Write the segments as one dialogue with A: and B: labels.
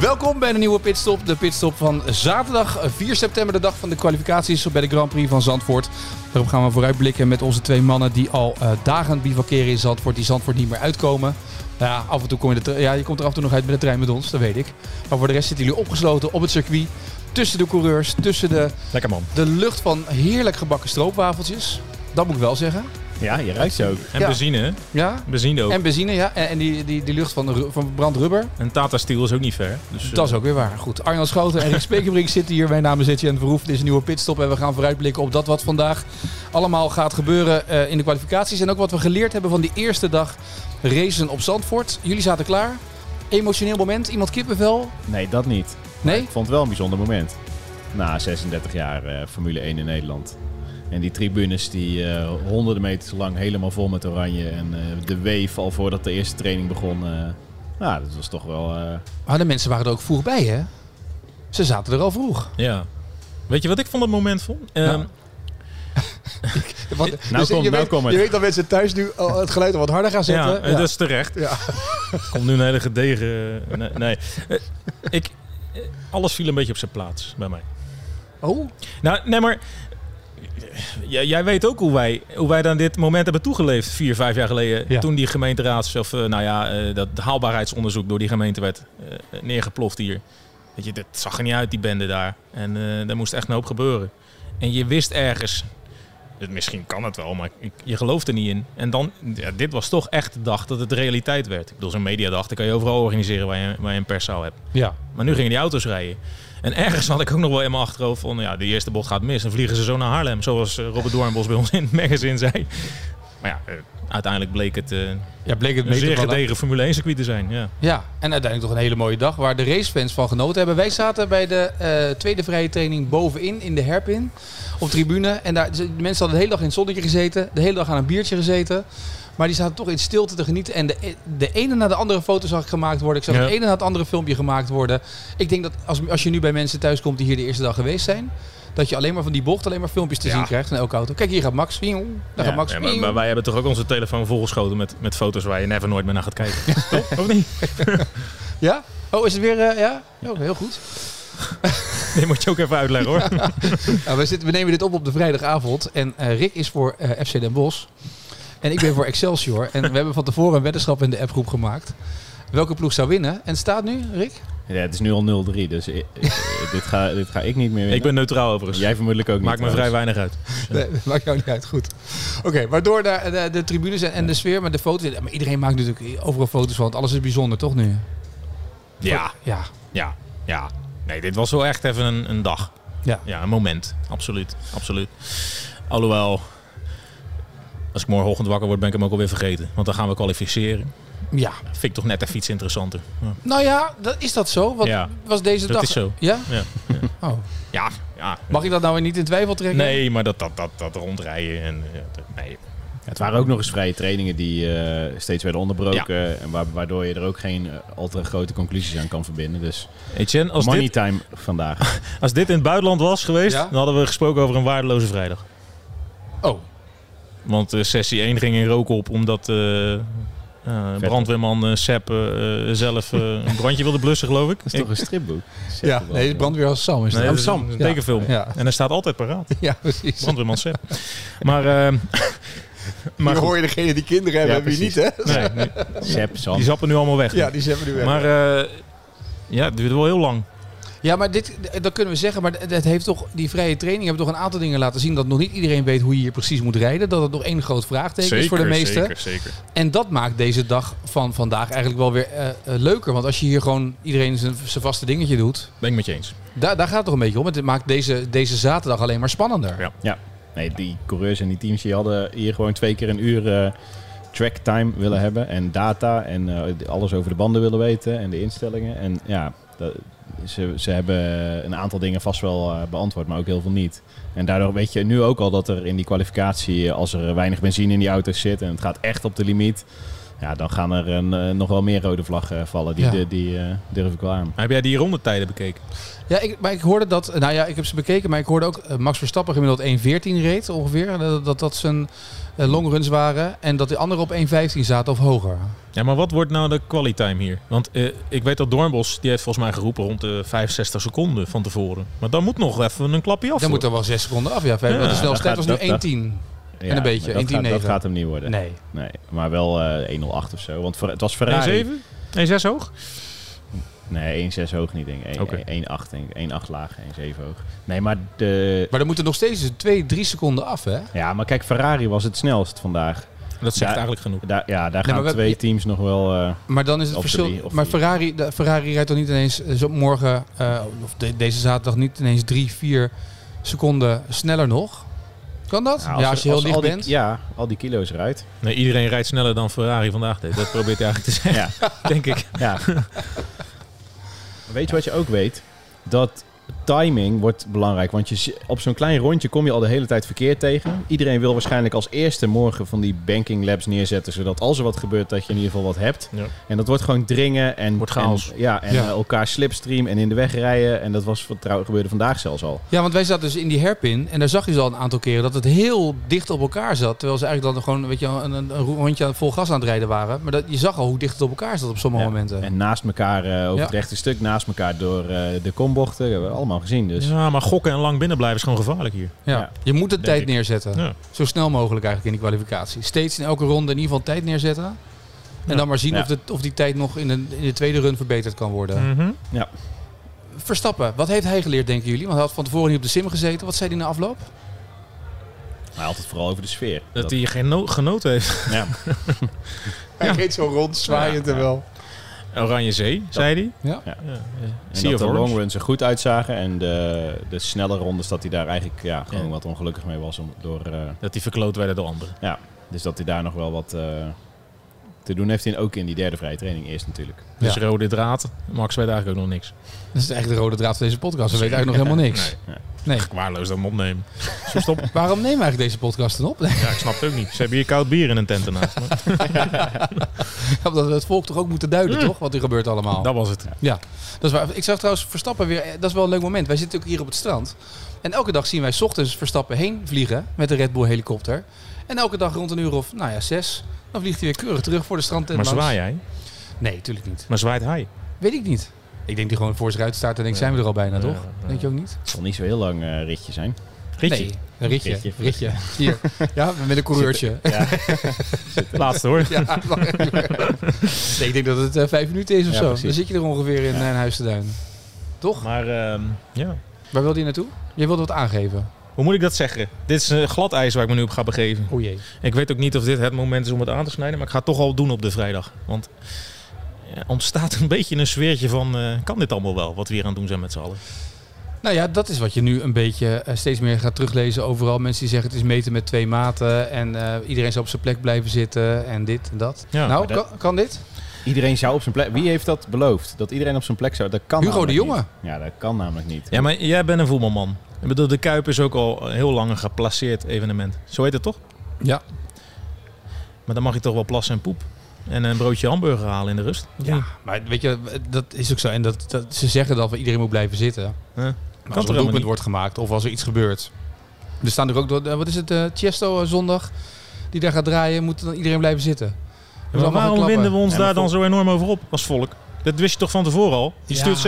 A: Welkom bij de nieuwe pitstop. De pitstop van zaterdag 4 september, de dag van de kwalificaties bij de Grand Prix van Zandvoort. Daarop gaan we vooruitblikken met onze twee mannen die al eh, dagen bivakeren in Zandvoort, die Zandvoort niet meer uitkomen. Nou ja, af en toe kom je, de tre- ja, je komt er af en toe nog uit met de trein met ons, dat weet ik. Maar voor de rest zitten jullie opgesloten op het circuit. Tussen de coureurs, tussen de,
B: Lekker man.
A: de lucht van heerlijk gebakken stroopwafeltjes. Dat moet ik wel zeggen.
B: Ja, je ruikt ze ook. En
A: Ja.
B: benzine, hè?
A: Ja.
B: Benzine ook.
A: En
B: En,
A: benzine, ja. En, en die, die, die lucht van, de ru- van brandrubber.
B: Tata Steel is ook niet ver. Dus, eh,
A: Dat is ook weer waar. Goed, Arjan Schoten en Rick Spekerbrink zitten hier. Mijn naam is Etienne Verhoef. Dit is een nieuwe pitstop en we gaan vooruitblikken op dat wat vandaag allemaal gaat gebeuren eh, in de kwalificaties. En ook wat we geleerd hebben van die eerste dag racen op Zandvoort. Jullie zaten klaar. Emotioneel moment. Iemand kippenvel?
C: Nee, dat niet.
A: Nee?
C: Ik vond het wel een bijzonder moment. Na 36 jaar eh, Formule 1 in Nederland. En die tribunes die eh, honderden meters lang helemaal vol met oranje. En eh, de weef al voordat de eerste training begon. eh nou, dat was toch wel... eh,
A: Maar de mensen waren er ook vroeg bij, hè? Ze zaten er al vroeg.
B: Ja. Weet je wat ik van dat moment vond? Ehm,
A: Nou. Want,
C: komt-
A: je,
C: nou
A: weet,
C: komt het.
A: je weet dat mensen thuis nu al het geluid al wat harder gaan
B: ja,
A: zetten.
B: eh, dat is terecht.
A: Ja.
B: Komt nu een hele gedegen... eh, Nee. nee. Eh, ik, eh, alles viel een beetje op zijn plaats bij mij.
A: Oh,
B: Nou, nee, maar... Jij, jij weet ook hoe wij, hoe wij aan dit moment hebben toegeleefd. Vier, vijf jaar geleden.
A: Ja.
B: Toen die gemeenteraads... Of, eh, nou ja, eh, dat haalbaarheidsonderzoek door die gemeente werd eh, neergeploft hier. Weet je, dat zag er niet uit, die bende daar. En eh daar moest echt een hoop gebeuren. En je wist ergens... eh, Misschien kan het wel, maar ik- je gelooft er niet in. En dan, ja, dit was toch echt de dag dat het realiteit werd. Ik bedoel, zo'n mediadag, dat kan je overal organiseren waar je, waar je een perszaal hebt.
A: ja.
B: Maar nu gingen die auto's rijden. En ergens had ik ook nog wel in mijn achterhoofd van... ja, de eerste bocht gaat mis. Dan vliegen ze zo naar Haarlem. Zoals eh, Robert Doornbos bij ons in het magazine zei. Maar ja, eh, uiteindelijk bleek het eh,
A: Ja, bleek het
B: een
A: meevallen.
B: zeer gedegen Formule 1 circuit te zijn. Ja.
A: Ja, en uiteindelijk toch een hele mooie dag waar de racefans van genoten hebben. Wij zaten bij de eh, tweede vrije training bovenin in de herpin op tribune. En daar, de mensen hadden de hele dag in het zonnetje gezeten, de hele dag aan een biertje gezeten. Maar die zaten toch in stilte te genieten. En de, e- de ene na de andere foto zag ik gemaakt worden. Ik zag
B: Ja.
A: het ene na het andere filmpje gemaakt worden. Ik denk dat als, als je nu bij mensen thuis komt die hier de eerste dag geweest zijn... dat je alleen maar van die bocht alleen maar filmpjes te
B: Ja.
A: zien krijgt van elke auto. Kijk, hier gaat Max. Daar gaat Max.
B: Ja, maar, maar wij hebben toch ook onze telefoon volgeschoten met, met foto's waar je never nooit meer naar gaat kijken. Toch? Of niet?
A: Ja? Oh, is het weer... eh, ja? Oh, heel goed.
B: Dit moet je ook even uitleggen hoor.
A: Nou, we, zitten, we nemen dit op op de vrijdagavond. En eh, Rick is voor eh, FC Den Bosch. En ik ben voor Excelsior. En we hebben van tevoren een weddenschap in de appgroep gemaakt. Welke ploeg zou winnen? En het staat nu, Rick?
C: ja, het is nu al 0-3, dus i- i- dit, ga, dit ga ik niet meer winnen.
B: Ik ben neutraal overigens.
C: Jij vermoedelijk ook niet.
B: Maakt me vrij
C: trouwens.
B: weinig uit.
A: Nee, maakt jou niet uit. Goed. Oké, waardoor de, eh, de, de tribunes en, en de sfeer met de foto's. Maar iedereen maakt natuurlijk overal foto's van. want Alles is bijzonder, toch nu?
B: Ja,
A: Ja.
B: ja, ja. Nee, dit was wel echt even een, een dag.
A: Ja.
B: Ja, een moment. Absoluut. Absoluut. Alhoewel, als ik morgenochtend wakker word, ben ik hem ook alweer vergeten. Want dan gaan we kwalificeren.
A: Ja.
B: Vind ik toch net even iets interessanter. Ja,
A: Nou ja, dat, is dat zo? Wat
B: Ja.
A: was deze
B: Dat
A: dag?
B: is zo.
A: Ja?
B: ja.
A: Oh.
B: ja, ja.
A: Mag ik dat nou weer niet in twijfel trekken?
B: Nee, maar dat, dat, dat, dat rondrijden en... ja, dat- nee.
C: Het waren ook nog eens vrije trainingen die eh, steeds werden onderbroken. En wa- waardoor je er ook geen eh, al te grote conclusies aan kan verbinden. Dus
B: Etienne, als
C: money
B: dit,
C: time vandaag.
B: als dit in het buitenland was geweest,
A: Ja?
B: dan hadden we gesproken over een waardeloze vrijdag.
A: Oh.
B: Want eh, sessie 1 ging in rook op omdat eh, eh, brandweerman eh Sepp eh, eh, zelf eh, een brandje wilde blussen, geloof ik.
C: Dat is toch een stripboek?
A: Ja, nee, de brandweer als Sam is
B: Nee,
A: dat.
B: dat is een- een tekenfilm.
A: Ja. Ja.
B: En hij staat altijd paraat.
A: Ja, precies.
B: Brandweerman Sepp. Maar, ehm maar
A: Maar
B: goed.
A: hoor je degene die kinderen hebben,
C: Ja,
A: hebben we niet, hè?
B: Nee, nee,
C: Sep, Sam.
B: die zappen nu allemaal weg.
A: Ja, die zijn we nu weg.
B: maar eh, ja, het duurde wel heel lang.
A: ja, maar dit, eh, dat kunnen we zeggen. Maar d- dat heeft toch, die vrije training hebben toch een aantal dingen laten zien... dat nog niet iedereen weet hoe je hier precies moet rijden. Dat het nog één groot vraagteken is voor de meesten.
B: Zeker, zeker.
A: En dat maakt deze dag van vandaag eigenlijk wel weer eh, eh, leuker. Want als je hier gewoon iedereen zijn zijn vaste dingetje doet...
B: Ben ik met je eens.
A: Daar, daar gaat het toch een beetje om. Het maakt deze, deze zaterdag alleen maar spannender.
B: Ja.
C: Ja, nee, die coureurs en die teams die hadden hier gewoon twee keer een uur eh, tracktime willen hebben. En data en eh, alles over de banden willen weten en de instellingen. En ja, dat, ze, ze hebben een aantal dingen vast wel eh, beantwoord, maar ook heel veel niet. En daardoor weet je nu ook al dat er in die kwalificatie, eh, als er weinig benzine in die auto's zit en het gaat echt op de limiet, ja, dan gaan er een, eh, nog wel meer rode vlaggen vallen. Die,
A: Ja.
C: die, die, eh, durf ik wel aan.
B: Maar heb jij die rondetijden bekeken?
A: Ja, ik, maar ik hoorde dat. Nou ja, ik heb ze bekeken, maar ik hoorde ook eh, Max Verstappen gemiddeld 1.14 reed ongeveer. En Dat dat, dat zijn eh, longruns waren. En dat die anderen op 1.15 zaten of hoger.
B: Ja, maar wat wordt nou de qualitime hier? Want eh, ik weet dat Doornbos, die heeft volgens mij geroepen rond de 65 seconden van tevoren. Maar dan moet nog even een klapje af.
A: Dan moet er wel 6 seconden af. Ja,
B: Ja,
A: ja, de snelste
C: dat
A: tijd was
C: gaat-
A: nu
C: dat- dat-
A: 1.10.
C: Ja,
A: een
C: maar
A: beetje,
C: dat,
A: 1-10-9.
C: gaat, dat gaat hem niet worden.
A: Nee.
C: Nee, maar wel eh, 108 of zo. Want voor, het was Ferrari.
B: 1,7? 1,6 hoog?
C: Nee, 1,6 hoog niet, denk ik. 1,8
B: Oké.
C: denk ik. 1,8 laag, 1,7 hoog. Nee, maar de...
A: Maar er moeten nog steeds 2, 3 seconden af, hè?
C: Ja, maar kijk, Ferrari was het snelst vandaag.
B: Dat zegt
C: Ja.
B: eigenlijk genoeg.
C: Daar, ja, daar gaan
A: maar we-
C: twee teams nog wel... eh,
A: Maar dan is het
C: Of
A: verschil.
C: drie, of
A: maar
C: vier.
A: Ferrari, de, Ferrari rijdt toch niet ineens eh, zo morgen, eh, of de- deze zaterdag, niet ineens 3, 4 seconden sneller nog? Kan dat?
C: nou,
A: ja, als je heel
C: al
A: licht
C: die-
A: bent.
C: Ja, al die kilo's eruit.
B: Nee, iedereen rijdt sneller dan Ferrari vandaag deed. Dat probeert hij eigenlijk te zeggen,
C: Ja.
B: denk ik.
C: ja. weet je wat je ook weet? Dat timing wordt belangrijk. Want je, zi- op zo'n klein rondje kom je al de hele tijd verkeer tegen. Iedereen wil waarschijnlijk als eerste morgen van die banking labs neerzetten. Zodat als er wat gebeurt, dat je in ieder geval wat hebt.
B: Ja.
C: En dat wordt gewoon dringen en,
B: Wordt chaos.
C: en- ja, en
A: Ja.
C: eh, elkaar slipstream en in de weg rijden. En dat was voor- trouw, gebeurde vandaag zelfs al.
A: Ja, want wij zaten dus in die herpin en daar zag je ze al een aantal keren dat het heel dicht op elkaar zat. Terwijl ze eigenlijk dan gewoon weet je, een, een, een rondje aan- vol gas aan het rijden waren. Maar dat, je zag al hoe dicht het op elkaar zat op sommige
C: Ja.
A: momenten.
C: En naast elkaar eh, over
A: Ja.
C: het rechte stuk, naast elkaar door eh, de kombochten. Dat hebben we allemaal gezien. Dus
B: Ja, maar gokken en lang binnen blijven is gewoon gevaarlijk hier.
A: ja.
C: ja,
A: je moet de
B: denk
A: tijd
B: ik.
A: neerzetten.
B: Ja.
A: Zo snel mogelijk eigenlijk in die kwalificatie. Steeds in elke ronde in ieder geval tijd neerzetten. En
B: Ja.
A: dan maar zien
C: Ja.
A: of, de, of die tijd nog in de, in de tweede run verbeterd kan worden.
B: Mhm.
A: Verstappen, wat heeft hij geleerd, denken jullie? Want hij had van tevoren niet op de sim gezeten. Wat zei hij na afloop?
C: maar altijd vooral over de sfeer.
B: Dat hij geen genoten heeft.
C: ja.
A: Hij reed zo rond, zwaaiend en wel.
B: Oranje Zee, zei hij.
A: Ja.
C: Ja.
B: ja.
C: En
B: Sea
C: dat
B: of
C: de
B: Orange.
C: longruns er goed uitzagen. En de, de snelle rondes dat hij daar eigenlijk ja, gewoon
B: Ja.
C: wat ongelukkig mee was. Om, door, eh,
B: Dat die verkloot werden door anderen.
C: dus dat hij daar nog wel wat eh, te doen heeft. In, ook in die derde vrije training eerst natuurlijk.
B: Dus
A: Ja.
B: rode draad. Max weet eigenlijk ook nog niks.
A: Dat is eigenlijk de rode draad van deze podcast. We weten eigenlijk nog helemaal niks.
B: Nee.
A: Nee.
B: Waarloos dat hem opnemen. Zo stop.
A: Waarom nemen we eigenlijk deze podcast dan op?
B: Ja, ik snap het ook niet. Ze hebben hier koud bier in een tent ernaast. maar
A: Omdat we het volk toch ook moeten duiden, toch? Wat er gebeurt allemaal.
B: Mm. Dat was het.
A: Dat is waar. Ik zag trouwens Verstappen weer. eh, Dat is wel een leuk moment. Wij zitten ook hier op het strand. En elke dag zien wij 's ochtends Verstappen heen vliegen met de Red Bull helikopter. En elke dag rond een uur of, nou ja, zes. Dan vliegt hij weer keurig terug voor de strandtent
B: Maar
A: langs.
B: zwaai jij?
A: Nee, tuurlijk niet.
B: Maar zwaait hij?
A: Weet ik niet. Ik denk die gewoon voor zich uit staat en denkt,
B: Ja.
A: zijn we er al bijna, toch?
B: Ja, ja.
A: Denk je ook niet?
C: Het zal niet zo heel lang eh, ritje zijn.
B: Ritje.
A: Nee, een ritje. Ritje.
C: Ritje.
A: Hier. Ja, met een coureurtje.
C: Ja.
B: Laatste hoor.
A: Ja, nee, ik denk dat het eh, vijf minuten is of
C: Ja,
A: zo.
C: precies.
A: Dan zit je er ongeveer in, eh, in Huis te Duin. Toch?
B: Maar ehm, ja.
A: Waar wilde je naartoe? Je wilde wat aangeven.
B: Hoe moet ik dat zeggen? Dit is een glad ijs waar ik me nu op ga begeven.
A: O jee.
B: Ik weet ook niet of dit het moment is om het aan te snijden, maar ik ga het toch al doen op de vrijdag. Want er ontstaat een beetje een sfeertje van, eh, kan dit allemaal wel, wat we hier aan het doen zijn met z'n allen?
A: Nou ja, dat is wat je nu een beetje eh, steeds meer gaat teruglezen overal. Mensen die zeggen het is meten met twee maten en eh, iedereen zal op zijn plek blijven zitten en dit en dat.
B: Ja,
A: nou,
C: maar dat-
A: kan, kan dit?
C: Iedereen zou op zijn plek. Wie heeft dat beloofd? Dat iedereen op zijn plek zou. Dat kan.
A: Hugo de
C: namelijk
A: Jonge.
C: niet. Ja, dat kan namelijk niet.
B: Ja, maar jij bent een voetbalman. Ik bedoel, de Kuip is ook al heel lang een geplaceerd evenement. Zo heet het toch?
A: Ja.
B: Maar dan mag je toch wel plassen en poep. En een broodje hamburger halen in de rust. of
A: Ja,
B: niet?
A: maar weet je, eh, dat is ook zo. En dat, dat, ze zeggen dan van iedereen moet blijven zitten.
B: Huh?
A: Maar als er
B: toch helemaal
A: een doelpunt
B: niet?
A: wordt gemaakt of als er iets gebeurt. Er staan er ook, door- eh, wat is het, eh Chesto eh, zondag, die daar gaat draaien, moet dan iedereen blijven zitten.
B: Maar waarom winden we ons
C: Ja, maar
B: daar dan
C: vol-
B: zo enorm over op als volk? Dat wist je toch van tevoren al? Je
A: Ja.
B: stuurt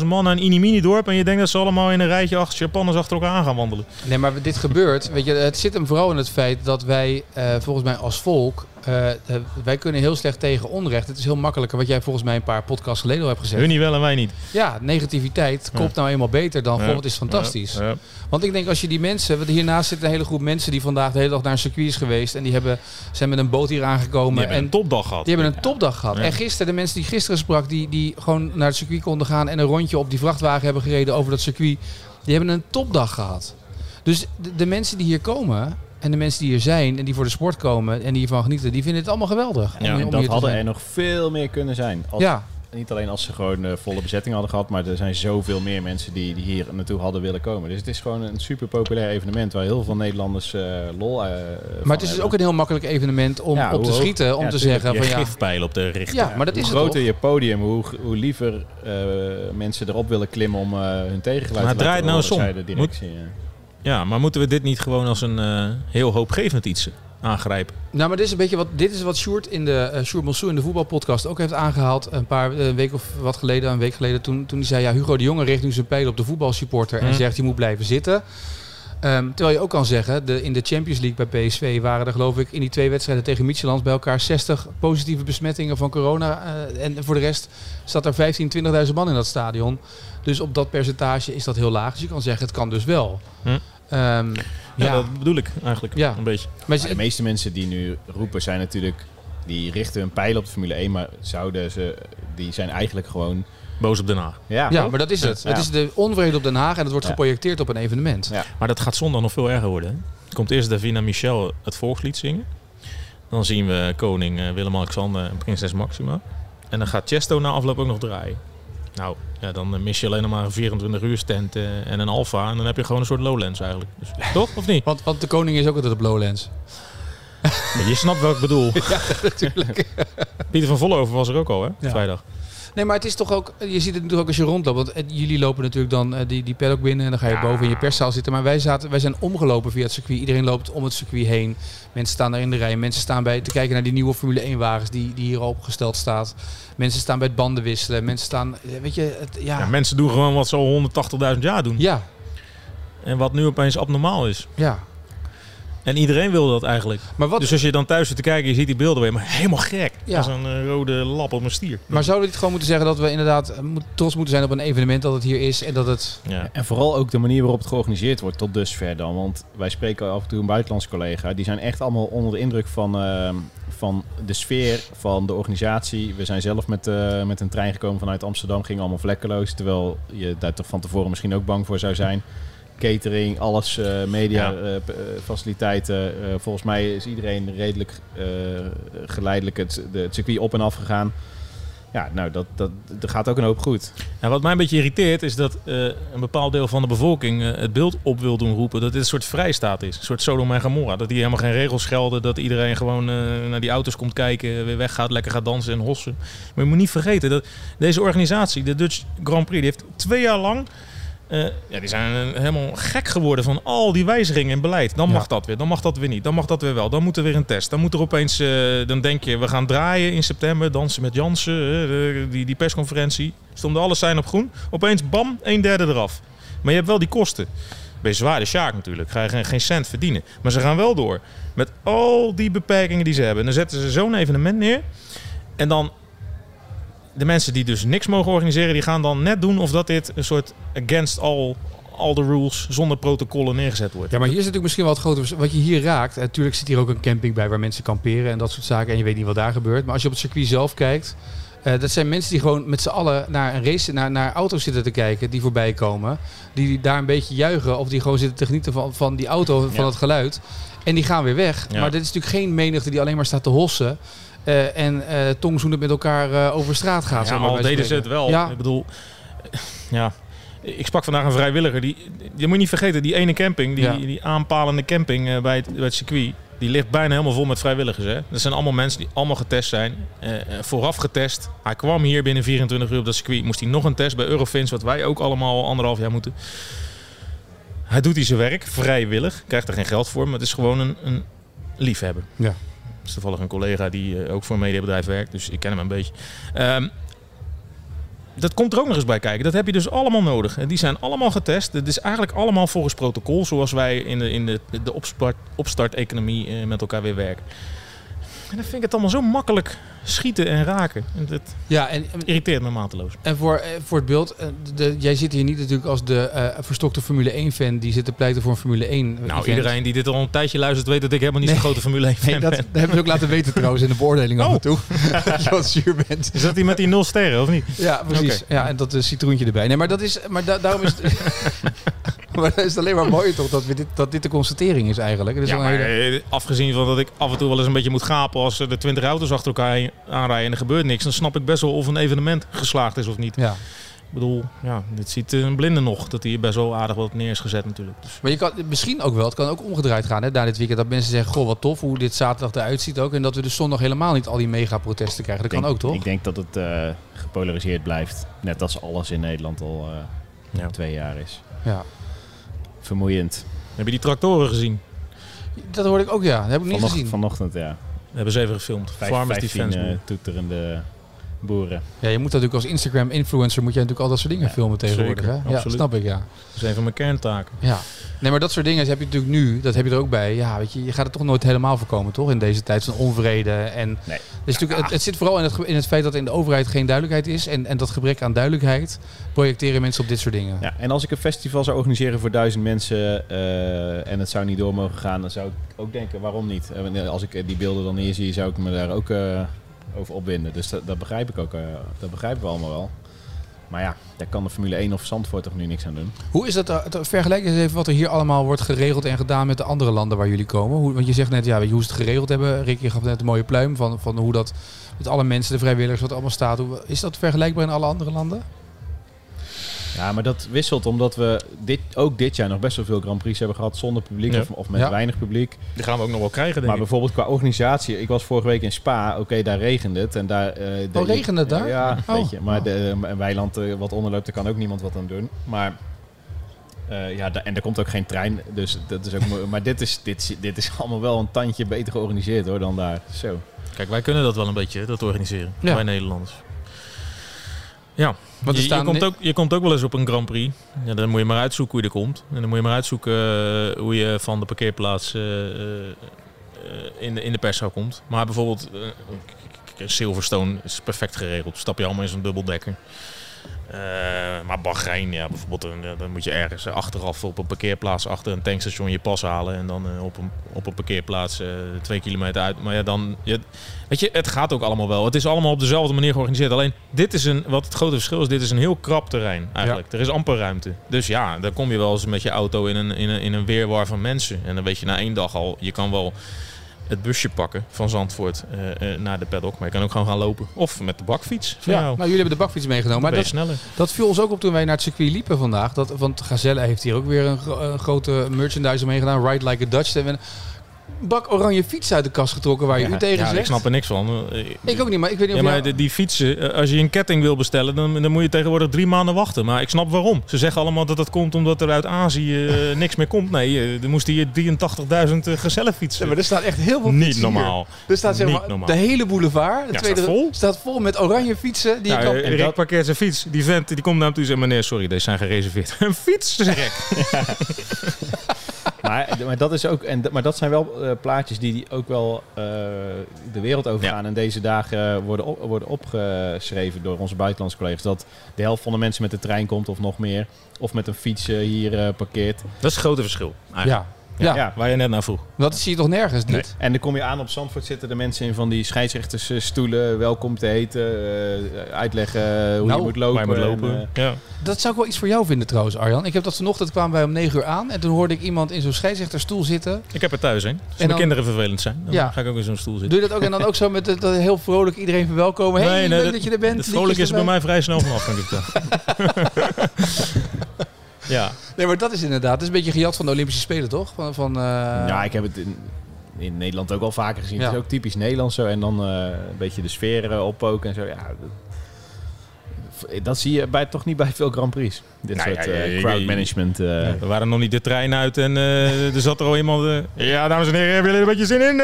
B: 70.000 man naar een inimini-dorp en je denkt dat ze allemaal in een rijtje achter Japanners achter elkaar aan gaan wandelen.
A: Nee, maar dit gebeurt. Weet je, het zit hem vooral in het feit dat wij eh, volgens mij als volk. eh, eh, wij kunnen heel slecht tegen onrecht. Het is heel makkelijker wat jij volgens mij een paar podcasts geleden al hebt gezegd.
B: Hun niet wel en wij niet.
A: Ja, negativiteit
B: Ja.
A: komt nou eenmaal beter dan.
B: Ja.
A: Goh, het is fantastisch.
B: Ja, ja.
A: Want ik denk als je die mensen. Want hiernaast zit een hele groep mensen die vandaag de hele dag naar een circuit is geweest. En die hebben, zijn met een boot hier
B: Die
A: aangekomen.
B: hebben
A: En
B: een topdag gehad.
A: die hebben een topdag gehad.
B: Ja.
A: En gisteren, de mensen die gisteren sprak, die, die gewoon naar het circuit konden gaan en een rondje op die vrachtwagen hebben gereden over dat circuit, die hebben een topdag gehad. Dus de, de mensen die hier komen en de mensen die hier zijn en die voor de sport komen en die hiervan genieten, die vinden het allemaal geweldig. om-
B: Ja,
A: om
C: en
A: hier
C: dat
A: te
C: hadden
A: zijn.
C: er nog veel meer kunnen zijn. Als
A: Ja,
C: niet alleen als ze gewoon eh, volle bezetting hadden gehad, maar er zijn zoveel meer mensen die, die hier naartoe hadden willen komen. Dus het is gewoon een super populair evenement waar heel veel Nederlanders eh, lol eh, van
A: Maar het is dus
C: hebben.
A: ook een heel makkelijk evenement om
C: Ja,
A: op te
C: hoe hoog-
A: schieten. Om
C: ja,
A: te
C: tuurlijk,
A: zeggen
B: Je
A: van ja,
B: gifpijl op de richting.
A: ja, maar dat
C: hoe
A: is het
C: groter
A: toch?
C: je podium, hoe, hoe liever eh, mensen erop willen klimmen om eh, hun tegengeluid
B: Maar
C: te laten
B: draait nou
C: horen,
B: eens om.
C: zei de directie. ja.
B: Ja, maar moeten we dit niet gewoon als een eh, heel hoopgevend iets aangrijpen?
A: Nou, maar dit is een beetje wat, dit is wat Sjoerd in de eh Sjoerd Monsou in de voetbalpodcast ook heeft aangehaald. Een paar eh, weken of wat geleden, een week geleden, toen, toen hij zei: ja, Hugo de Jonge richt nu zijn pijl op de voetbalsupporter en
B: Mm.
A: zegt je moet blijven zitten. Ehm, terwijl je ook kan zeggen, de, in de Champions League bij PSV waren er geloof ik in die twee wedstrijden tegen Micheland bij elkaar 60 positieve besmettingen van corona. eh, en voor de rest staat er 15, 20.000 man in dat stadion. Dus op dat percentage is dat heel laag. Dus je kan zeggen, het kan dus wel.
B: Mm.
A: Ehm,
B: Ja,
A: ja,
B: dat bedoel ik eigenlijk
A: Ja.
B: een beetje.
A: maar
C: Maar de meeste mensen die nu roepen zijn natuurlijk... Die richten hun pijlen op de Formule 1, maar zouden ze... Die zijn eigenlijk gewoon...
B: Boos op Den Haag.
C: Ja,
A: Ja, maar dat is het.
C: Ja.
A: Het is de onvrede op Den Haag en het wordt
C: Ja.
A: geprojecteerd op een evenement.
C: Ja.
B: Maar dat gaat zondag nog veel erger worden. Hè? Er komt eerst Davina Michel het volkslied zingen. Dan zien we koning eh, Willem-Alexander en prinses Maxima. En dan gaat Chesto na afloop ook nog draaien. Nou, ja, dan eh, mis je alleen nog maar een 24 uur stand eh, en een Alfa. En dan heb je gewoon een soort Lowlands eigenlijk. Dus, toch? Of niet?
A: Want, want de koning is ook altijd op Lowlands.
B: Je snapt wat ik bedoel.
A: Natuurlijk.
B: Pieter van Vollenhoven was er ook al, hè?
A: Ja.
B: Vrijdag.
A: Nee, maar het is toch ook... Je ziet het natuurlijk ook als je rondloopt. Want eh, jullie lopen natuurlijk dan eh, die, die paddock binnen... en dan ga je boven in je perszaal zitten. Maar wij, zaten, wij zijn omgelopen via het circuit. Iedereen loopt om het circuit heen. Mensen staan daar in de rij. Mensen staan bij te kijken naar die nieuwe Formule 1-wagens... die, die hier al opgesteld staat. Mensen staan bij het banden wisselen. Mensen staan... eh, Weet je, het, ja...
B: Ja,
A: Ja,
B: mensen doen gewoon wat ze al 180.000 jaar doen.
A: ja,
B: En wat nu opeens abnormaal is. En iedereen wil dat eigenlijk.
A: Maar, wat,
B: Dus als je dan thuis zit te kijken, je ziet die beelden weer, maar helemaal gek.
A: Ja.
B: Als een eh, rode lap op een stier.
A: maar zouden we niet gewoon moeten zeggen... dat we inderdaad eh, moet- trots moeten zijn op een evenement... dat het hier is en dat het...
B: Ja.
C: En vooral ook de manier waarop het georganiseerd wordt tot dusver dan. Want wij spreken af en toe een buitenlands collega. Die zijn echt allemaal onder de indruk van, ehm, van de sfeer, van de organisatie. We zijn zelf met, eh, met een trein gekomen vanuit Amsterdam. Ging allemaal vlekkeloos. Terwijl je daar toch van tevoren misschien ook bang voor zou zijn. Catering, alles, eh, media,
B: Ja.
C: eh, p- eh, faciliteiten. Eh, volgens mij is iedereen redelijk eh, geleidelijk het, de, het circuit op en af gegaan. Ja, nou, dat, dat, er gaat ook een hoop goed.
B: En wat mij een beetje irriteert is dat eh, een bepaald deel van de bevolking eh, het beeld op wil doen roepen dat dit een soort vrijstaat is. Een soort Sodom en Gomorra. Dat die helemaal geen regels gelden, dat iedereen gewoon eh, naar die auto's komt kijken, weer weggaat, lekker gaat dansen en hossen. Maar je moet niet vergeten dat deze organisatie, de Dutch Grand Prix, die heeft twee jaar lang... eh, ja, die zijn eh, helemaal gek geworden van al die wijzigingen in beleid. Dan
A: Ja.
B: mag dat weer, dan mag dat weer niet, dan mag dat weer wel. Dan moet er weer een test. Dan moet er opeens, eh, dan denk je, we gaan draaien in september, dansen met Jansen, eh, eh, die, die persconferentie. Stonden alles zijn op groen. Opeens bam, een derde eraf. Maar je hebt wel die kosten. Ben je zwaar de sjaak natuurlijk. Ga je geen, geen cent verdienen. Maar ze gaan wel door. Met al die beperkingen die ze hebben. En dan zetten ze zo'n evenement neer. En dan... De mensen die dus niks mogen organiseren... die gaan dan net doen of dat dit een soort against all, all the rules... zonder protocollen neergezet wordt.
A: Ja, maar hier is natuurlijk misschien wel het grote vers- Wat je hier raakt, eh, natuurlijk zit hier ook een camping bij waar mensen kamperen en dat soort zaken. En je weet niet wat daar gebeurt. Maar als je op het circuit zelf kijkt, eh, dat zijn mensen die gewoon met z'n allen naar een race, naar, naar auto's zitten te kijken die voorbij komen. Die, die daar een beetje juichen of die gewoon zitten te genieten van, van die auto, van
C: Ja.
A: het geluid. En die gaan weer weg.
B: Ja.
A: Maar dit is natuurlijk geen menigte die alleen maar staat te hossen. eh, en eh tongzoenend met elkaar eh, over straat gaat.
B: Ja,
A: zeg maar,
B: al
A: bij
B: deden ze
A: spreken.
B: het wel.
A: Ja.
B: Ik bedoel, ja. Ik sprak vandaag een vrijwilliger. Die, je moet niet vergeten, die ene camping, die,
A: Ja.
B: die aanpalende camping eh, bij, het, bij het circuit, die ligt bijna helemaal vol met vrijwilligers. Hè? Dat zijn allemaal mensen die allemaal getest zijn. eh, eh, vooraf getest. Hij kwam hier binnen 24 uur op dat circuit. Moest hij nog een test bij Eurofins, wat wij ook allemaal al anderhalf jaar moeten. Hij doet hier zijn werk, vrijwillig. Krijgt er geen geld voor, maar het is gewoon een, een liefhebber.
A: Ja.
B: Dat is toevallig een collega die eh, ook voor een mediabedrijf werkt, dus ik ken hem een beetje. Ehm, dat komt er ook nog eens bij kijken. Dat heb je dus allemaal nodig. En die zijn allemaal getest. Het is eigenlijk allemaal volgens protocol, zoals wij in de, in de, de opstart, opstarteconomie eh, met elkaar weer werken. En dan vind ik het allemaal zo makkelijk schieten en raken. En dat
A: Ja, en
B: irriteert me mateloos.
A: En voor, eh, voor het beeld, eh, de- jij zit hier niet natuurlijk als de eh, verstokte Formule 1-fan die zit te pleiten voor een Formule 1.
B: Nou,
A: event.
B: iedereen die dit al een tijdje luistert, weet dat ik helemaal niet zo'n
A: Nee.
B: grote Formule 1
A: Nee,
B: fan
A: dat, dat
B: ben.
A: hebben ze ook laten weten trouwens in de beoordeling af
B: Oh.
A: en toe. dat je wat zuur bent.
B: Is dat die met die nul sterren, of niet?
A: Ja, precies. Ja, en dat eh, citroentje erbij. Nee, maar dat is. Maar da- daarom is. het- maar dat is alleen maar mooi toch dat, we dit, dat dit de constatering is eigenlijk. Het is
B: Ja,
A: wel een
B: maar
A: hele-
B: eh, afgezien van dat ik af en toe wel eens een beetje moet gapen als er de 20 auto's achter elkaar heen aanrijden en er gebeurt niks, dan snap ik best wel of een evenement geslaagd is of niet.
A: ja.
B: Ik bedoel, ja, dit ziet eh, een blinde nog, dat hij best wel aardig wat neer is gezet natuurlijk. Dus,
A: Maar je kan misschien ook wel, het kan ook omgedraaid gaan hè, na dit weekend. Dat mensen zeggen, goh wat tof hoe dit zaterdag eruit ziet ook. En dat we dus zondag helemaal niet al die mega-protesten krijgen. Dat kan ook toch?
C: Ik denk dat het eh, gepolariseerd blijft. Net als alles in Nederland al eh,
B: Ja.
C: twee jaar is.
A: Ja.
C: Vermoeiend.
B: heb je die tractoren gezien?
A: Dat hoorde ik ook ja, dat heb ik niet
C: Vanocht-
A: gezien.
C: vanochtend, ja.
B: Dat hebben ze even gefilmd.
C: Vijf,
B: Farmers
C: vijftien,
B: Defense.
C: eh,
B: Board.
C: toeterende boeren.
A: Ja, je moet natuurlijk als Instagram-influencer moet je natuurlijk al dat soort dingen
C: Ja,
A: filmen tegenwoordig.
B: zeker.
A: hè? Ja,
B: Absoluut.
A: snap ik ja.
B: dat is een van mijn kerntaken.
A: Ja. Nee, maar dat soort dingen heb je natuurlijk nu. Dat heb je er ook bij. Ja, weet je, je gaat het toch nooit helemaal voorkomen, toch? In deze tijd van onvrede. En
C: Nee.
A: het, is natuurlijk, het, het zit vooral in het, ge- in het feit dat in de overheid geen duidelijkheid is. En, en dat gebrek aan duidelijkheid projecteren mensen op dit soort dingen.
C: Ja, en als ik een festival zou organiseren voor duizend mensen eh, en het zou niet door mogen gaan, dan zou ik ook denken, waarom niet? Eh, wanneer- Als ik eh, die beelden dan hier zie, zou ik me daar ook eh, over opwinden. Dus dat, dat begrijp ik ook, eh, dat begrijpen we allemaal wel. Maar ja, daar kan de Formule 1 of Zandvoort toch nu niks aan doen.
A: Hoe is dat? eh, te- Vergelijk eens even wat er hier allemaal wordt geregeld en gedaan met de andere landen waar jullie komen. Hoe, want je zegt net, ja, weet je hoe ze het geregeld hebben? Rick, je gaf net een mooie pluim van, van hoe dat met alle mensen, de vrijwilligers, wat er allemaal staat. Hoe, is dat vergelijkbaar in alle andere landen?
C: Ja, maar dat wisselt omdat we dit, ook dit jaar nog best wel veel Grand Prix hebben gehad zonder publiek
B: Ja.
C: of, of met
A: Ja.
C: weinig publiek.
B: Die gaan we ook nog wel krijgen, denk
C: Maar
B: ik.
C: bijvoorbeeld qua organisatie, ik was vorige week in Spa, oké, daar regende het. En daar, eh, de-
A: Oh, regende het daar?
C: Ja,
A: Oh.
C: weet je. Maar de, een weiland eh, wat onderloopt, daar kan ook niemand wat aan doen. Maar, eh, ja, da- en er komt ook geen trein, dus dat is ook... mo- maar dit is, dit, is- dit is allemaal wel een tandje beter georganiseerd hoor, dan daar. Zo.
B: Kijk, wij kunnen dat wel een beetje, dat organiseren.
A: Ja.
B: Wij Nederlanders.
A: Want
B: je,
A: er
B: je
A: staan
B: komt ook, je komt ook wel eens op een Grand Prix. Ja, dan moet je maar uitzoeken hoe je er komt. En dan moet je maar uitzoeken eh, hoe je van de parkeerplaats eh, eh, eh, in, de, in de perszaal komt. Maar bijvoorbeeld eh, k- k- Silverstone is perfect geregeld. Stap je allemaal in zo'n dubbeldekker. Eh, maar Bahrein, ja, bijvoorbeeld, dan, dan moet je ergens eh, achteraf op een parkeerplaats achter een tankstation je pas halen. En dan eh, op, een, op een parkeerplaats eh, twee kilometer uit. Maar ja, dan, je, Weet je, het gaat ook allemaal wel. Het is allemaal op dezelfde manier georganiseerd. Alleen, dit is een, wat het grote verschil is, dit is een heel krap terrein eigenlijk. Er is amper ruimte. Dus ja, dan kom je wel eens met je auto in een, in, een, in een weerwar van mensen. En dan weet je na één dag al, je kan wel het busje pakken van Zandvoort eh, eh, naar de paddock. Maar je kan ook gewoon gaan lopen. Of met de bakfiets van
A: ja,
B: jou.
A: nou, jullie hebben de bakfiets meegenomen.
B: maar
A: Maar
B: ben je
A: dat,
B: sneller.
A: Dat viel ons ook op toen wij naar het circuit liepen vandaag. Dat, want Gazelle heeft hier ook weer een, gro- een grote merchandise omheen gedaan. Ride like a Dutch. En we hebben een bak oranje fiets uit de kast getrokken waar je
C: Ja,
A: nu tegen
B: Ja,
A: zegt.
B: ik snap er niks van. Eh,
A: Ik ook niet, maar ik weet niet of
B: Ja, maar
A: jij-
B: die, die fietsen, eh, als je een ketting wil bestellen, dan, dan moet je tegenwoordig drie maanden wachten. Maar ik snap waarom. Ze zeggen allemaal dat dat komt omdat er uit Azië eh, niks meer komt. Nee, eh, er moesten hier 83.000 eh, gezellen
A: Ja,
B: fietsen.
A: maar er staat echt heel veel
B: Niet
A: fietsen hier.
B: normaal.
A: Er staat zeg
B: Niet
A: maar
B: normaal.
A: de hele boulevard. De
B: Ja,
A: tweede
B: staat vol.
A: staat vol met oranje fietsen. Die
B: Nou,
A: je kan...
B: eh,
C: en
B: Rick
C: dat-
B: parkeert zijn fiets. Die vent die komt naar hem toe en zegt... meneer, sorry, deze zijn gereserveerd. Een fiets, zeg ik.
C: maar, maar, dat is ook, en, dat- maar dat zijn wel eh, plaatjes die, die ook wel eh, de wereld overgaan. En deze dagen eh, worden, op- worden opgeschreven door onze buitenlandse collega's. Dat de helft van de mensen met de trein komt of nog meer. Of met een fiets eh, hier eh, parkeert.
B: Dat is het grote verschil. eigenlijk.
A: ja. Ja.
C: Ja.
B: Waar je net naar vroeg.
A: dat zie je toch nergens niet?
C: En dan kom je aan op Zandvoort zitten de mensen in van die scheidsrechtersstoelen. Welkom te heten. eh, uitleggen hoe
A: Nou,
C: je moet lopen.
B: Waar je moet
C: En,
B: lopen.
C: eh,
B: Ja.
A: Dat zou ik wel iets voor jou vinden trouwens, Arjan. Ik heb dat vanochtend, kwamen wij om 9 uur aan. En toen hoorde ik iemand in zo'n scheidsrechterstoel zitten.
B: Ik heb er thuis heen. Als
A: dan-
B: mijn kinderen vervelend zijn, dan
A: Ja.
B: ga ik ook in zo'n stoel zitten.
A: Doe je dat ook en dan ook zo met het- dat heel vrolijk iedereen verwelkomen. hey,
B: Nee, nee,
A: leuk dat, je er bent.
B: Het vrolijk
A: Liedjes
B: is er bij
A: erbij.
B: mij vrij snel vanaf, kan ik je vertellen. Ja.
A: Nee, maar dat is inderdaad. Dat is een beetje gejat van de Olympische Spelen, toch? Van, van, eh,
C: ja, ik heb het in, in Nederland ook al vaker gezien. Het
A: Ja.
C: is ook typisch Nederlands zo. En dan eh, een beetje de sfeer eh, oppoken en zo. Ja, dat, dat zie je bij, toch niet bij veel Grand Prix. Dit
B: Nou
C: soort
B: ja, ja,
C: eh,
B: ja,
C: crowd
B: ja.
C: management. eh.
B: We waren nog niet de trein uit en eh, er zat er al iemand. eh, ja, dames en heren, hebben jullie er een beetje zin in?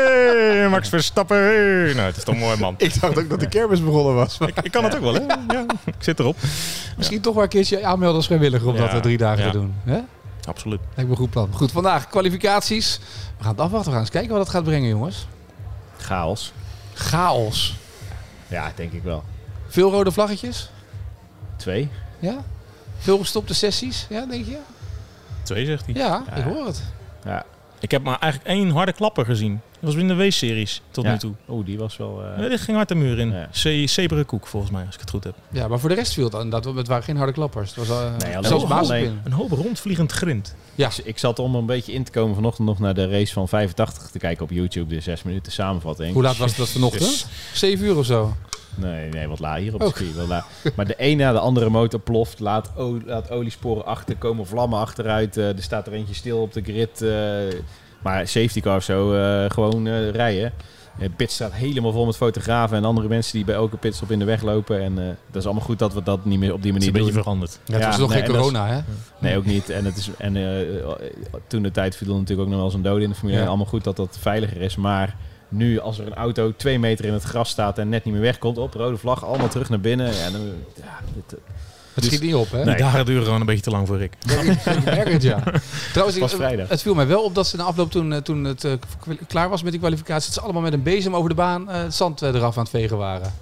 B: Eh, Max Verstappen. Eh, Nou, het is toch mooi, man.
A: Ik dacht ook dat de kermis begonnen was.
B: Ik, ik kan het ook wel, hè? Ja, ik zit erop.
A: Misschien toch maar een keertje aanmelden als vrijwilliger om
B: Ja,
A: dat eh, drie dagen
B: ja.
A: te doen. Hè?
B: Absoluut.
A: Lijkt me een goed plan. Goed, vandaag kwalificaties. We gaan het afwachten. We gaan eens kijken wat het gaat brengen, jongens.
C: Chaos.
A: Chaos.
C: Ja, denk ik wel.
A: Veel rode vlaggetjes.
C: Twee.
A: Ja? Veel gestopte sessies. Ja, denk je?
B: Twee, zegt hij.
A: Ja,
C: Ja.
A: ik hoor het.
C: Ja.
B: Ik heb maar eigenlijk één harde klapper gezien. was in de W-series tot
C: Ja.
B: nu toe.
C: Oeh, die was wel... eh,
B: Ja, dit ging hard de muur in.
C: Ja.
B: C Zebere koek, volgens mij, als ik het goed heb.
A: Ja, maar voor de rest viel het inderdaad. wel- Het waren geen harde klappers. Het was eh,
C: Nee, alleen-
A: zelfs
C: alleen-
A: basispin.
B: Een hoop rondvliegend grind.
C: Ik- dus Ik zat om een beetje in te komen vanochtend nog naar de race van 85 te kijken op YouTube. De 6 minuten samenvatting.
A: Hoe laat was dat vanochtend?
B: Jezus.
A: Zeven uur of zo.
C: Nee, nee, wat laat hier op
A: Oh.
C: het circuit. Wat laat. Maar de een na de andere motor ploft. Laat, o- laat oliesporen achter. Komen vlammen achteruit. eh, er staat er eentje stil op de grid. eh, maar safety car of zo. eh, gewoon eh, rijden. De pit staat helemaal vol met fotografen en andere mensen die bij elke pitstop in de weg lopen. En eh, dat is allemaal goed dat we dat niet meer op die
B: Het
C: manier
B: is een beetje
C: doen.
B: veranderd.
A: Ja, het
C: Ja,
A: was nog
C: nee,
A: geen
C: en dat is-
A: corona, hè?
C: Nee, ook niet. En, het is, en eh, toen de tijd viel er natuurlijk ook nog wel eens een dode in de familie.
A: Ja.
C: Allemaal goed dat dat veiliger is. Maar nu, als er een auto twee meter in het gras staat en net niet meer wegkomt, op rode vlag, allemaal terug naar binnen. Ja, dan, ja, dit-
A: Het schiet niet op, hè?
C: dus- Nee.
B: Die dagen duren gewoon een beetje te lang voor Rick.
A: Ik merk het, ja. Trouwens,
C: was
A: ik-
C: vrijdag.
A: het viel mij wel op dat ze na afloop toen, eh, toen het eh, kwa- klaar was met die kwalificatie, dat ze allemaal met een bezem over de baan eh, het zand eh, eraf aan het vegen waren.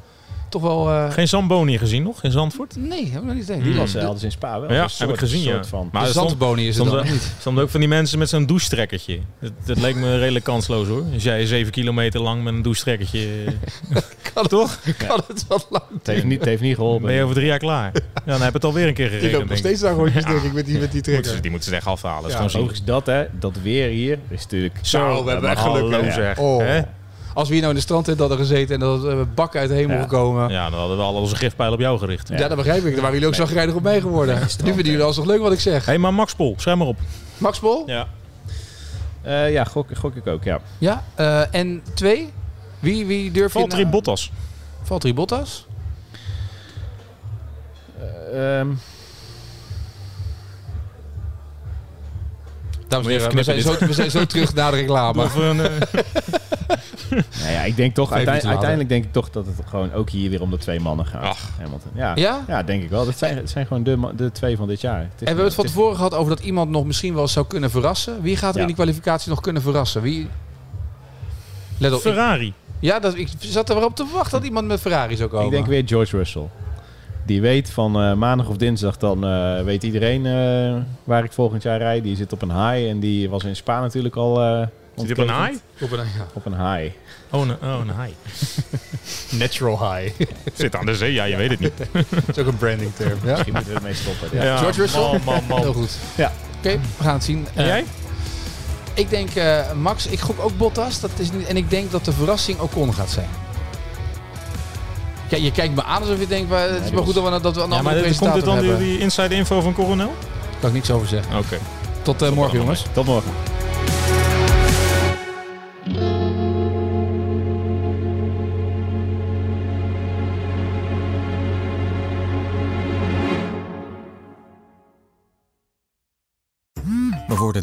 A: Toch wel... eh,
B: Geen Zamboni gezien nog in Zandvoort?
A: Nee, heb ik nog niet eens.
C: die
B: Hmm.
C: was eh, hadden ze in Spa wel.
B: Ja,
C: Een soort-
B: heb ik gezien,
C: soort
B: ja.
C: Van.
B: Maar
A: de
B: er stond-
A: zandbonie is het
B: stond
A: dan
B: er-
A: niet.
B: Soms ook van die mensen met zo'n douchestrekkertje. Dat, dat leek me redelijk kansloos hoor. Als jij zeven kilometer lang met een douchestrekkertje...
A: Kan
B: Toch?
A: Kan het wel lang.
C: Het heeft niet, het heeft niet
B: Ben je
C: geholpen.
B: over drie jaar klaar. Ja, dan heb je het alweer een keer geregeld. denk ik.
A: daar rondjes,
B: denk
A: ik, met die, met die
B: Moeten ze- die moeten ze echt afhalen. Dat
A: Ja,
B: is gewoon zielig.
C: Overigens dat, hè, dat weer hier is natuurlijk...
B: Zo, we hebben echt geluk.
C: Hallo,
B: Hallo
C: zeg.
B: zeg.
A: Oh.
B: Hè?
A: Als we hier nou in de strandtent hadden gezeten en dat eh bakken uit de hemel
C: Ja.
A: gekomen. Ja.
B: Ja, dan hadden we al onze gifpijl op jou gericht.
C: Ja.
A: dat begrijp ik. Daar waren jullie ook zo grijdig op mee geworden. nu vinden jullie alsnog leuk wat ik zeg.
B: Hé, hey, maar Max Pol, schrijf maar op.
A: Max Pol? Ja.
B: Ja.
C: Eh, ja, gok, gok ik ook, ja.
A: Eh, en twee? Wie, wie durf je...
B: Valtteri
A: nou-
B: Bottas.
A: Valtteri Bottas?
C: Eh, ehm,
A: Dames en
B: Moet je
A: heren, we
B: even
A: zijn, zo, we zijn zo terug naar de reclame.
B: Of een, eh,
C: nou ja, ik denk toch,
A: Vijf minuten
C: uiteindelijk,
A: later.
C: uiteindelijk denk ik toch dat het gewoon ook hier weer om de twee mannen gaat. Hamilton. Ja,
A: Ja?
C: Ja, denk ik wel. Dat zijn, het zijn gewoon de, ma- de twee van dit jaar. Het is-
A: En we hebben het van
C: is-
A: tevoren gehad over dat iemand nog misschien wel zou kunnen verrassen. Wie gaat er
C: Ja.
A: in die kwalificatie nog kunnen verrassen? Wie? Let op. ik-
B: Ferrari.
A: Ja, dat, ik zat er wel op te wachten dat iemand met Ferrari zou komen.
C: Ik denk weer George Russell. Die weet van eh, maandag of dinsdag, dan eh, weet iedereen eh, waar ik volgend jaar rijd. Die zit op een high en die was in Spa natuurlijk al... eh,
B: Zit hij op
C: ontketend.
B: een high?
A: Op een, ja.
C: Op een high.
B: Oh, een, oh, een high.
D: Natural high.
B: Zit aan de zee, ja, je weet het niet.
D: Dat is ook een branding term.
A: Ja?
C: Misschien moeten we ermee stoppen.
A: Ja. George Russell?
B: Man, man, man.
A: Heel goed.
C: Ja.
A: Oké, we gaan het zien.
B: Hm. En
A: Eh,
B: jij?
A: Ik denk eh, Max, ik gok ook Bottas. Dat is niet, en ik denk dat de verrassing Ocon gaat zijn. Ja, je kijkt me aan alsof je denkt, maar het is
C: die
A: maar goed
C: was-
A: dat we, dat we een
B: Ja, maar
A: andere
B: dit- komt
A: presentator
B: dit dan die,
A: hebben.
B: die inside info van Coronel?
A: Daar kan ik niks over zeggen.
B: Oké.
A: Tot eh, morgen jongens.
C: Tot morgen.
E: We worden